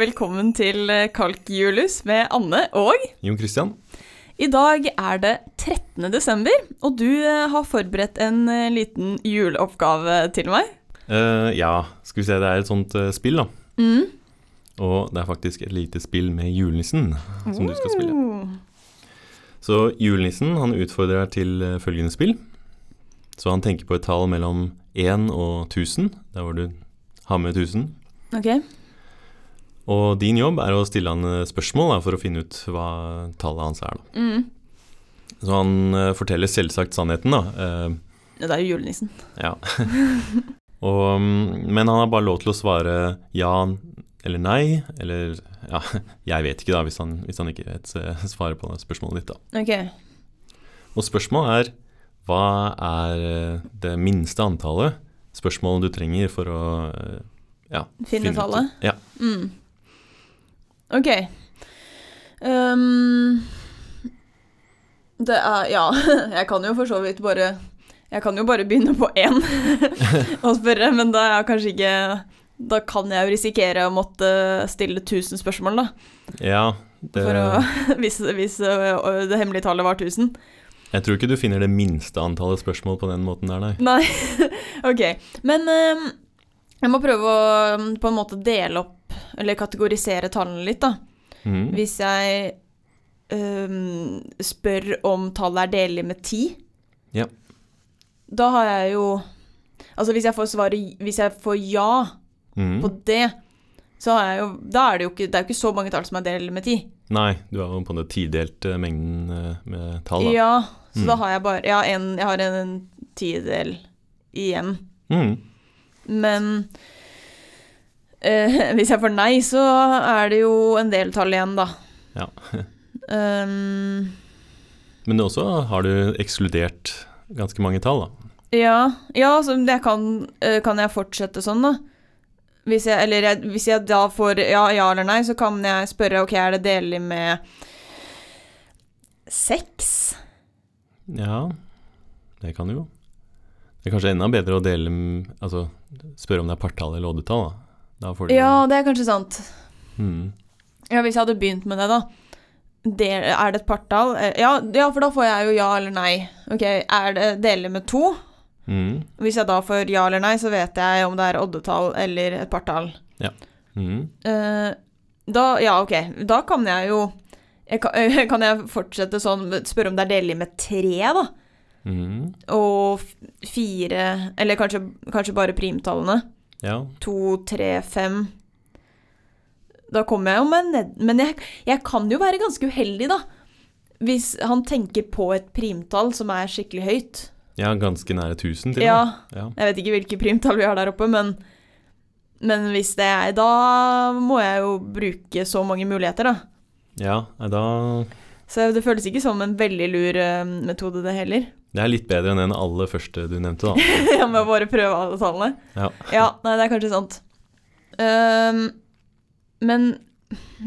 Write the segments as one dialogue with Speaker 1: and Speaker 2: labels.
Speaker 1: velkommen til Kalkjulus med Anne og
Speaker 2: Jon Christian,
Speaker 1: I dag er det 13. desember, og du eh, har forberedt en eh, liten juleoppgave til meg.
Speaker 2: eh, ja, skal vi se, det er et sånt eh, spill da.
Speaker 1: Mm.
Speaker 2: Og det er faktisk et lite spill med julenissen som du skal spille.
Speaker 1: Mm.
Speaker 2: Så julenissen, han utfordrer deg til eh, følgende spill. Så han tenker på et tall mellom 1 og 1000, der hvor du har med 1000.
Speaker 1: Ok.
Speaker 2: Og din jobb er å stille han eh, spørsmål da, for å finne ut hva tallet hans er da.
Speaker 1: Mm.
Speaker 2: Så han eh, forteller selvsagt sannheten da, eh,
Speaker 1: Ja, Det er jo julenissen.
Speaker 2: Ja. Og, mm, men han har bare lov til å svare ja eller nei, eller ja, jeg vet ikke da, hvis han, hvis han ikke vet eh, svaret på det spørsmålet ditt da.
Speaker 1: Ok.
Speaker 2: Og spørsmålet er, hva er eh, det minste antallet spørsmål du trenger for å eh, ja,
Speaker 1: Finne
Speaker 2: ut-
Speaker 1: tallet?
Speaker 2: Ja.
Speaker 1: Mm. Ok. Ehm, det er Ja, jeg kan jo for så vidt bare Jeg kan jo bare begynne på én og spørre, men da er jeg kanskje ikke Da kan jeg jo risikere å måtte stille 1000 spørsmål, da.
Speaker 2: Ja, det,
Speaker 1: For å, hvis, hvis ø, det hemmelige tallet var 1000.
Speaker 2: jeg tror ikke du finner det minste antallet spørsmål på den måten der, nei.
Speaker 1: Nei, ok. Men ø, jeg må prøve å ø, på en måte dele opp, eller kategorisere tallene litt, da.
Speaker 2: Mhm.
Speaker 1: Hvis jeg ø, spør om tallet er delelig med 10,
Speaker 2: Ja.
Speaker 1: da har jeg jo Altså hvis jeg får svaret Hvis jeg får ja
Speaker 2: Mhm.
Speaker 1: på det, så har jeg jo Da er det jo ikke Det er jo ikke så mange tall som er delelig med 10.
Speaker 2: Nei, du har jo på en måte tidelt eh, mengden eh, med tall da.
Speaker 1: Ja, så da
Speaker 2: Mm.
Speaker 1: har jeg bare Ja, en, jeg har en tidel igjen.
Speaker 2: Mhm.
Speaker 1: Men eh, hvis jeg får nei, så er det jo en del tall igjen, da.
Speaker 2: Ja.
Speaker 1: Ehm,
Speaker 2: Men det også har du ekskludert ganske mange tall, da.
Speaker 1: ja, ja så jeg kan, eh, kan jeg fortsette sånn, da. Hvis jeg, eller jeg, hvis jeg da får ja, ja eller nei, så kan jeg spørre ok, er det delelig med seks?
Speaker 2: Ja, det kan du jo. Det er kanskje enda bedre å dele m- Altså spørre om det er partall eller oddetall, da. Da får du
Speaker 1: Ja, det er kanskje sant.
Speaker 2: Mm.
Speaker 1: Ja, hvis jeg hadde begynt med det, da. Det, er det et partall? Eh, Ja, ja, for da får jeg jo ja eller nei. Ok, Er det delig med to?
Speaker 2: Mm.
Speaker 1: Hvis jeg da får ja eller nei, så vet jeg om det er oddetall eller et partall.
Speaker 2: Mm.
Speaker 1: Eh, da, ja, ok. Da kan jeg jo jeg kan, kan jeg fortsette sånn Spørre om det er delig med tre, da?
Speaker 2: Mm.
Speaker 1: Og f- fire Eller kanskje, kanskje bare primtallene.
Speaker 2: Ja.
Speaker 1: To, tre, fem. Da kommer jeg jo med ned... Men jeg, jeg kan jo være ganske uheldig, da. Hvis han tenker på et primtall som er skikkelig høyt.
Speaker 2: ja, ganske nære 1000 til og
Speaker 1: Ja,
Speaker 2: med. Ja.
Speaker 1: jeg vet ikke hvilke primtall vi har der oppe, men, men hvis det er Da må jeg jo bruke så mange muligheter, da.
Speaker 2: ja, nei, da
Speaker 1: Så det føles ikke som en veldig lur eh, metode, det heller.
Speaker 2: Det er litt bedre enn den aller første du nevnte, da.
Speaker 1: Jeg må bare prøve alle tallene.
Speaker 2: Ja.
Speaker 1: nei, det er kanskje sant. Ehm, men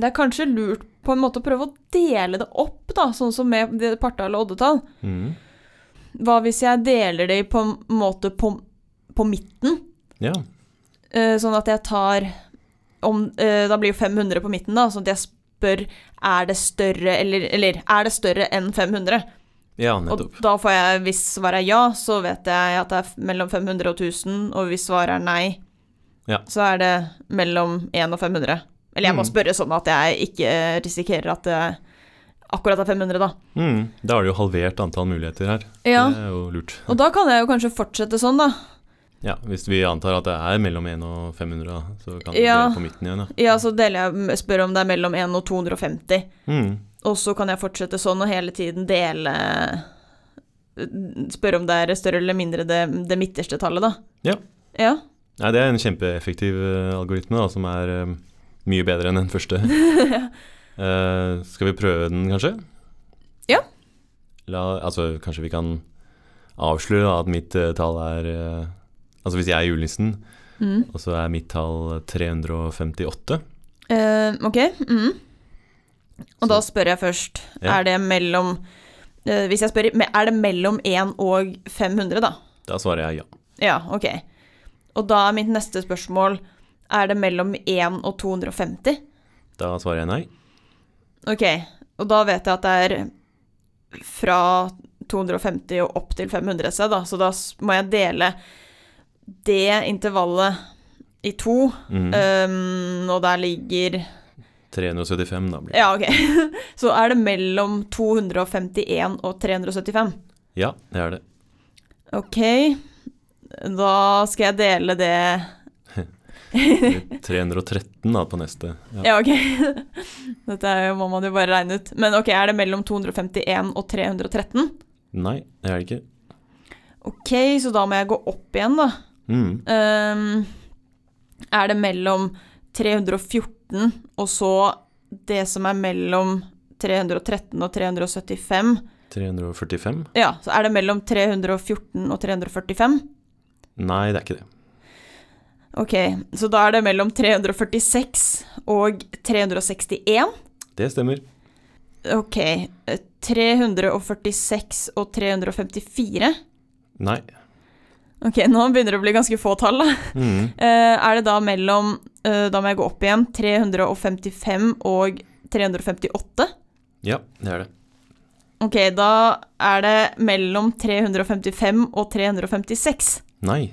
Speaker 1: det er kanskje lurt på en måte å prøve å dele det opp, da, sånn som med det partall og oddetall.
Speaker 2: Mm.
Speaker 1: Hva hvis jeg deler det i på en måte på, på midten,
Speaker 2: Ja.
Speaker 1: eh, sånn at jeg tar om, eh, Da blir jo 500 på midten, da, sånn at jeg spør er det større eller, eller er det større enn 500?
Speaker 2: ja,
Speaker 1: Og
Speaker 2: nettopp.
Speaker 1: da får jeg, hvis svaret er ja, så vet jeg at det er f- mellom 500 og 1000, og hvis svaret er nei,
Speaker 2: Ja.
Speaker 1: så er det mellom 1 og 500. Eller jeg må
Speaker 2: Mm.
Speaker 1: spørre sånn at jeg ikke risikerer at det akkurat er 500, da.
Speaker 2: Mm. Da har du jo halvert antall muligheter her. Det er jo lurt.
Speaker 1: Og da kan jeg jo kanskje fortsette sånn, da.
Speaker 2: Ja, Hvis vi antar at det er mellom 1 og 500, da, så kan du
Speaker 1: Ja.
Speaker 2: dele på midten igjen, ja.
Speaker 1: Ja, så altså, deler jeg, spør om det er mellom 1 og 250,
Speaker 2: Mm.
Speaker 1: og så kan jeg fortsette sånn og hele tiden dele Spørre om det er større eller mindre det, det midterste tallet, da.
Speaker 2: Ja.
Speaker 1: Ja.
Speaker 2: Nei, det er en kjempeeffektiv eh, algoritme da, som er eh, mye bedre enn den første. Eh, skal vi prøve den, kanskje?
Speaker 1: Ja.
Speaker 2: La, altså, kanskje vi kan avsløre da, at mitt eh, tall er eh, Altså hvis jeg er julenissen,
Speaker 1: Mm.
Speaker 2: og så er mitt tall 358
Speaker 1: Eh, ok. mhm. Og
Speaker 2: Så-
Speaker 1: da spør jeg først
Speaker 2: Ja.
Speaker 1: Er det mellom eh, Hvis jeg spør me- Er det mellom 1 og 500, da?
Speaker 2: Da svarer jeg ja.
Speaker 1: Ja, ok. Og da er mitt neste spørsmål Er det mellom 1 og 250?
Speaker 2: Da svarer jeg nei.
Speaker 1: Ok, og da vet jeg at det er fra 250 og opp til 500 seg, da, så da s- må jeg dele det intervallet i to,
Speaker 2: Mm.
Speaker 1: um, og der ligger
Speaker 2: 375, da blir det.
Speaker 1: Ja, ok. Så er det mellom 251 og 375.
Speaker 2: Ja, det er det.
Speaker 1: Ok, da skal jeg dele det
Speaker 2: 313 da på neste. Ja.
Speaker 1: Ja, ok. Dette er jo- må man jo bare regne ut. Men ok, er det mellom 251 og 313?
Speaker 2: Nei, det er det ikke.
Speaker 1: Ok, så da må jeg gå opp igjen, da.
Speaker 2: Mm.
Speaker 1: Ehm, er det mellom 314 og så det som er mellom 313 og 375?
Speaker 2: 345?
Speaker 1: Ja, så er det mellom 314 og 345?
Speaker 2: Nei, det er ikke det.
Speaker 1: Ok, så da er det mellom 346 og 361?
Speaker 2: Det stemmer.
Speaker 1: Ok, eh, 346 og 354.
Speaker 2: Nei.
Speaker 1: Ok, nå begynner det å bli ganske få tall, da.
Speaker 2: Mm.
Speaker 1: Eh, er det da mellom eh, Da må jeg gå opp igjen. 355 og 358?
Speaker 2: Ja, det er det.
Speaker 1: Ok, da er det mellom 355 og 356.
Speaker 2: Nei.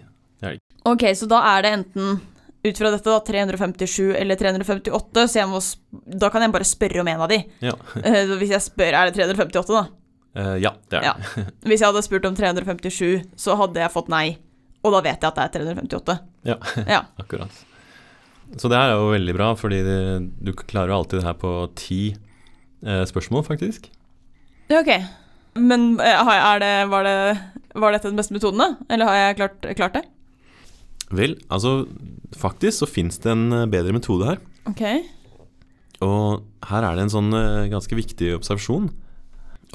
Speaker 1: Ok, så da er det enten ut fra dette da, 357 eller 358, så jeg må, sp- da kan jeg bare spørre om en av de.
Speaker 2: Ja.
Speaker 1: Eh, så hvis jeg spør, er det 358 da?
Speaker 2: Eh, ja, det er det.
Speaker 1: Ja. Hvis jeg hadde spurt om 357, så hadde jeg fått nei. Og da vet jeg at det er 358.
Speaker 2: Akkurat. Så det her er jo veldig bra, fordi det, du klarer jo alltid det her på ti eh, spørsmål, faktisk.
Speaker 1: Ja, ok. Men eh, har jeg- er det, var, det, var dette den beste metoden, da? Eller har jeg klart, klart det?
Speaker 2: Vel, altså faktisk så fins det en eh, bedre metode her.
Speaker 1: Ok.
Speaker 2: Og her er det en sånn eh, ganske viktig observasjon.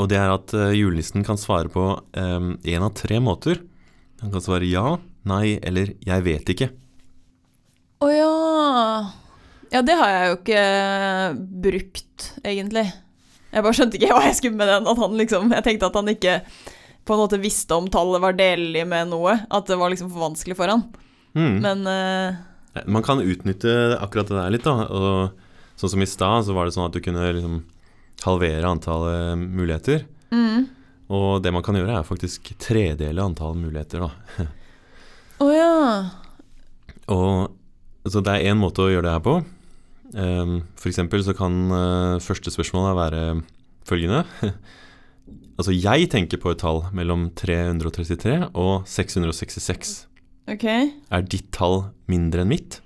Speaker 2: Og det er at eh, julenissen kan svare på én av tre måter. Han kan svare ja, nei eller jeg vet ikke.
Speaker 1: Å ja. Ja, det har jeg jo ikke brukt, egentlig. Jeg bare skjønte ikke hva jeg skulle med den. At han liksom, jeg tenkte at han ikke på en måte visste om tallet var delelig med noe. At det var liksom for vanskelig for han.
Speaker 2: Hmm.
Speaker 1: Men eh,
Speaker 2: Man kan utnytte akkurat det der litt, da. Og sånn som i stad, så var det sånn at du kunne liksom halvere antallet muligheter.
Speaker 1: mm.
Speaker 2: Og det man kan gjøre, er faktisk tredele antallet muligheter, da.
Speaker 1: Å ja.
Speaker 2: Og så det er én måte å gjøre det her på. Um, for eksempel så kan eh, første spørsmål være følgende. altså jeg tenker på et tall mellom 333 og 666.
Speaker 1: Ok.
Speaker 2: Er ditt tall mindre enn mitt?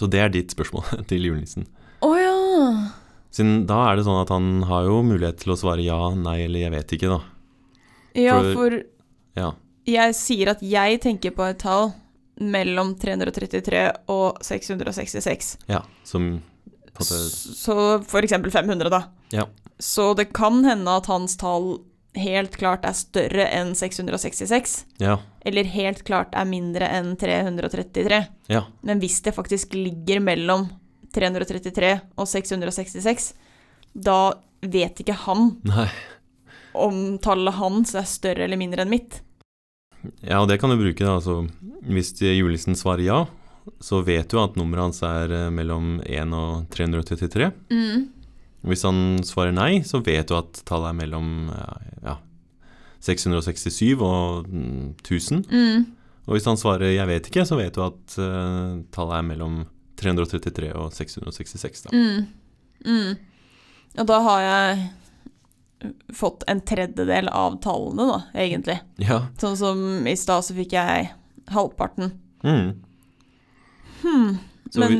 Speaker 2: Så det er ditt spørsmål til julenissen.
Speaker 1: Å ja.
Speaker 2: Siden da er det sånn at han har jo mulighet til å svare ja, nei eller jeg vet ikke, da.
Speaker 1: Ja,
Speaker 2: For-
Speaker 1: for
Speaker 2: Ja.
Speaker 1: jeg sier at jeg tenker på et tall mellom 333 og 666.
Speaker 2: ja som på en måte
Speaker 1: S- Så for eksempel 500, da.
Speaker 2: Ja.
Speaker 1: Så det kan hende at hans tall helt klart er større enn 666,
Speaker 2: Ja.
Speaker 1: eller helt klart er mindre enn 333.
Speaker 2: Ja.
Speaker 1: Men hvis det faktisk ligger mellom 333 og 666, da vet ikke han
Speaker 2: Nei.
Speaker 1: om tallet hans er større eller mindre enn mitt.
Speaker 2: Ja, og det kan du bruke, da. Altså, hvis de- julenissen svarer ja, så vet du at nummeret hans er eh, mellom 1 og 333.
Speaker 1: Mm,
Speaker 2: Hvis han svarer nei, så vet du at tallet er mellom eh, ja, 667 og mm, 1000.
Speaker 1: Mm.
Speaker 2: Og hvis han svarer jeg vet ikke, så vet du at eh, tallet er mellom 333 og 666, da.
Speaker 1: Mm. Mm. Og da har jeg fått en tredjedel av tallene, da, egentlig.
Speaker 2: Ja.
Speaker 1: Sånn som i stad så fikk jeg halvparten.
Speaker 2: Mm.
Speaker 1: Hmm.
Speaker 2: Så
Speaker 1: Men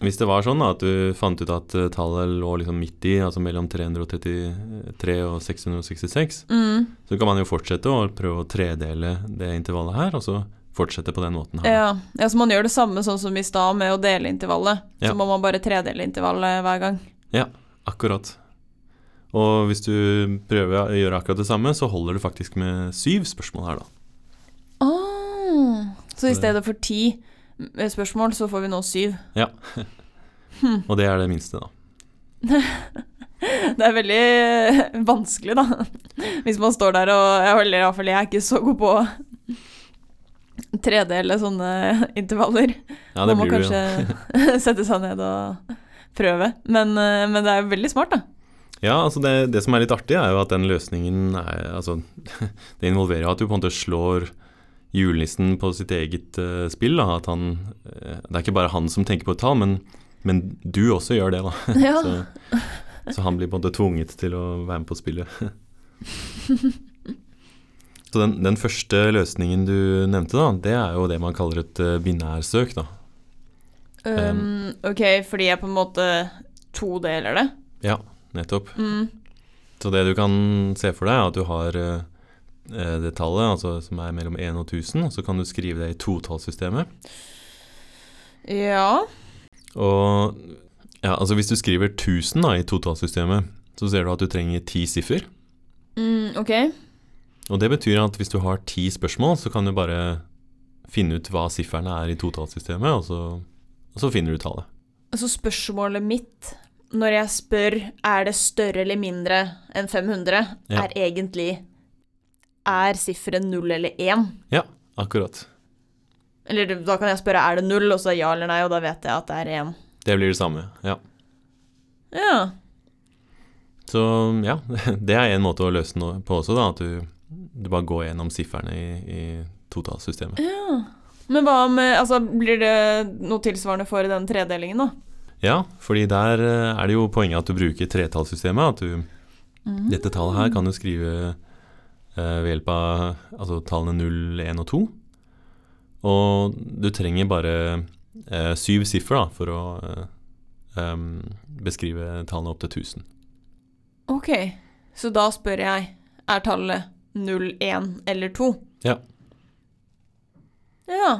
Speaker 2: Hvis det var sånn da, at du fant ut at eh, tallet lå liksom midt i, altså mellom 333 og 666,
Speaker 1: mm,
Speaker 2: så kan man jo fortsette å prøve å tredele det intervallet her, og så fortsette på den måten her.
Speaker 1: ja. ja, så man gjør det samme sånn som i stad med å dele intervallet.
Speaker 2: Ja.
Speaker 1: Så må man bare tredele intervallet hver gang.
Speaker 2: Akkurat. Og hvis du prøver å gjøre akkurat det samme, så holder du faktisk med syv spørsmål her, da.
Speaker 1: Ah. Så
Speaker 2: Så det-
Speaker 1: i stedet for ti eh, spørsmål, så får vi nå syv. Mm.
Speaker 2: Og det er det minste, da.
Speaker 1: Det er veldig eh, vanskelig, da. Hvis man står der og jeg, Eller iallfall jeg er ikke så god på å tredele sånne intervaller.
Speaker 2: Ja,
Speaker 1: Man
Speaker 2: det
Speaker 1: må
Speaker 2: blir du. Ja.
Speaker 1: kanskje sette seg ned og prøve. Men, eh, men det er jo veldig smart, da.
Speaker 2: ja altså det, det som er litt artig, er jo at den løsningen er, altså, Det involverer jo at du på en måte slår julenissen på sitt eget eh, spill. Da, at han, eh, det er ikke bare han som tenker på et tall, men, men du også gjør det. da.
Speaker 1: Ja.
Speaker 2: Så, så han blir på en måte tvunget til å være med på spillet. Så den, den første løsningen du nevnte, da, det er jo det man kaller et eh, binærsøk. da.
Speaker 1: Um, ok, fordi jeg på en måte todeler det.
Speaker 2: Nettopp.
Speaker 1: Mm.
Speaker 2: Så det du kan se for deg, er at du har eh, eh, det tallet altså, som er mellom 1 og 1000, og så kan du skrive det i totallssystemet.
Speaker 1: Ja.
Speaker 2: Og ja, altså hvis du skriver 1000 da, i totallssystemet, så ser du at du trenger ti siffer.
Speaker 1: Mm, ok.
Speaker 2: Og det betyr at hvis du har ti spørsmål, så kan du bare finne ut hva sifferne er i totallsystemet, og så, og så finner du tallet.
Speaker 1: Så Altså, spørsmålet mitt når jeg spør er det større eller mindre enn 500,
Speaker 2: Ja.
Speaker 1: er egentlig er sifferet 0 eller 1?
Speaker 2: Akkurat.
Speaker 1: Eller da kan jeg spørre er det 0, og så ja eller nei, og da vet jeg at det er 1.
Speaker 2: Det blir det samme, ja.
Speaker 1: Ja.
Speaker 2: Så ja, det er en måte å løse noe på også, da, at du, du bare går gjennom sifferne i, i totallsystemet.
Speaker 1: ja. Men hva med Altså, blir det noe tilsvarende for den tredelingen, da?
Speaker 2: Ja, fordi der eh, er det jo poenget at du bruker tretallssystemet, at du Dette tallet her kan du skrive eh, ved hjelp av altså, tallene 0, 1 og 2. Og du trenger bare eh, syv siffer da, for å eh, em, beskrive tallene opp til 1000.
Speaker 1: Ok, så da spør jeg, er tallet 0, 1 eller 2?
Speaker 2: Ja.
Speaker 1: Ja.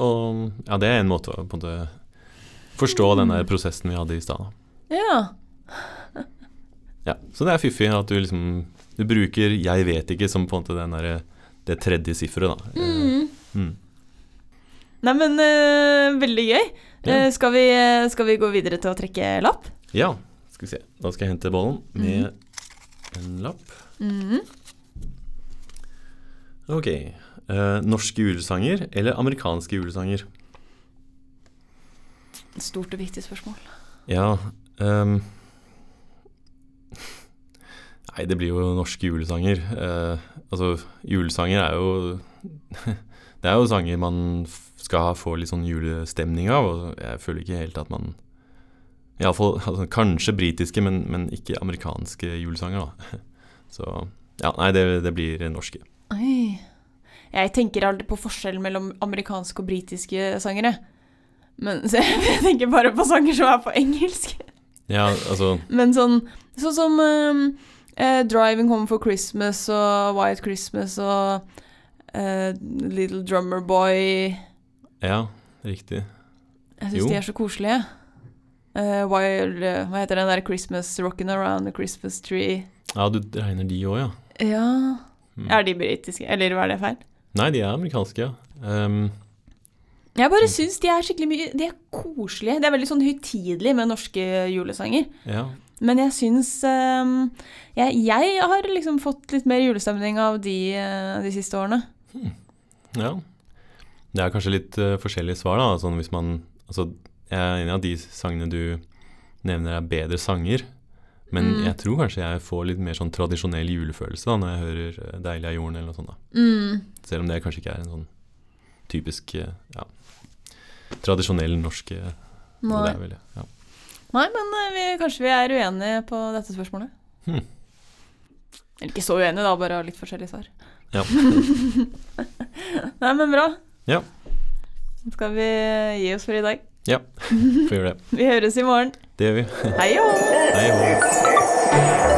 Speaker 2: Og ja, det er en måte å på en måte forstå den der prosessen vi hadde i stad. da.
Speaker 1: Ja.
Speaker 2: Ja, så det er fiffig at du liksom du bruker 'jeg vet ikke' som på en måte den der, det tredje sifferet, da. Eh,
Speaker 1: Mm.
Speaker 2: Mm.
Speaker 1: Nei, men eh, veldig gøy.
Speaker 2: Ja.
Speaker 1: Eh, skal, vi, eh, skal vi gå videre til å trekke lapp?
Speaker 2: Ja, skal vi se. Da skal jeg hente bollen med en lapp.
Speaker 1: Mm.
Speaker 2: Ok. eh, norske julesanger eller amerikanske julesanger?
Speaker 1: Stort og viktig spørsmål.
Speaker 2: Ja ehm, Nei, det blir jo norske julesanger. Eh, altså, julesanger er jo Det er jo sanger man f- skal få litt sånn julestemning av, og jeg føler ikke helt at man Iallfall altså, kanskje britiske, men, men ikke amerikanske julesanger, da. Så ja, nei, det, det blir norske.
Speaker 1: Oi. Jeg tenker aldri på forskjellen mellom amerikanske og britiske sangere. Men så jeg tenker bare på sanger som er på engelsk.
Speaker 2: Ja, altså
Speaker 1: Men sånn, sånn som ehm, eh, Driving Home for Christmas og White Christmas og eh, Little Drummer Boy
Speaker 2: Ja, riktig.
Speaker 1: Jeg
Speaker 2: Jo.
Speaker 1: syns de er så koselige. Eh, Wild eh, Hva heter den der Christmas Rockin' Around the Christmas Tree?
Speaker 2: Ja, du regner de òg, ja.
Speaker 1: Ja
Speaker 2: Mm.
Speaker 1: Er de britiske, eller var det feil?
Speaker 2: Nei, de er amerikanske, ja. Ehm,
Speaker 1: Jeg
Speaker 2: Mm.
Speaker 1: bare syns de er skikkelig mye De er koselige. Det er veldig sånn høytidelig med norske julesanger.
Speaker 2: ja.
Speaker 1: Men jeg syns ehm, jeg, jeg har liksom fått litt mer julestemning av de eh, de siste årene.
Speaker 2: Ja. Det er kanskje litt eh, forskjellige svar, da. Sånn hvis man Altså, jeg er enig i at de sangene du nevner er bedre sanger, men
Speaker 1: Mm.
Speaker 2: jeg tror kanskje jeg får litt mer sånn tradisjonell julefølelse da når jeg hører eh, 'Deilig er jorden' eller noe sånt, da.
Speaker 1: Mm.
Speaker 2: Selv om det kanskje ikke er en sånn typisk eh, ja, tradisjonell norsk eh, og det
Speaker 1: Nei.
Speaker 2: er vel, ja.
Speaker 1: Nei, men eh, vi, kanskje vi er uenige på dette spørsmålet.
Speaker 2: Hmm.
Speaker 1: Eller ikke så uenige, da, bare litt forskjellige svar.
Speaker 2: Ja.
Speaker 1: Nei, men bra.
Speaker 2: Ja.
Speaker 1: Da skal vi gi oss for i dag.
Speaker 2: ja. Får gjøre det.
Speaker 1: Vi høres i morgen.
Speaker 2: Det gjør vi.
Speaker 1: Hei og hå!
Speaker 2: Hei, hå.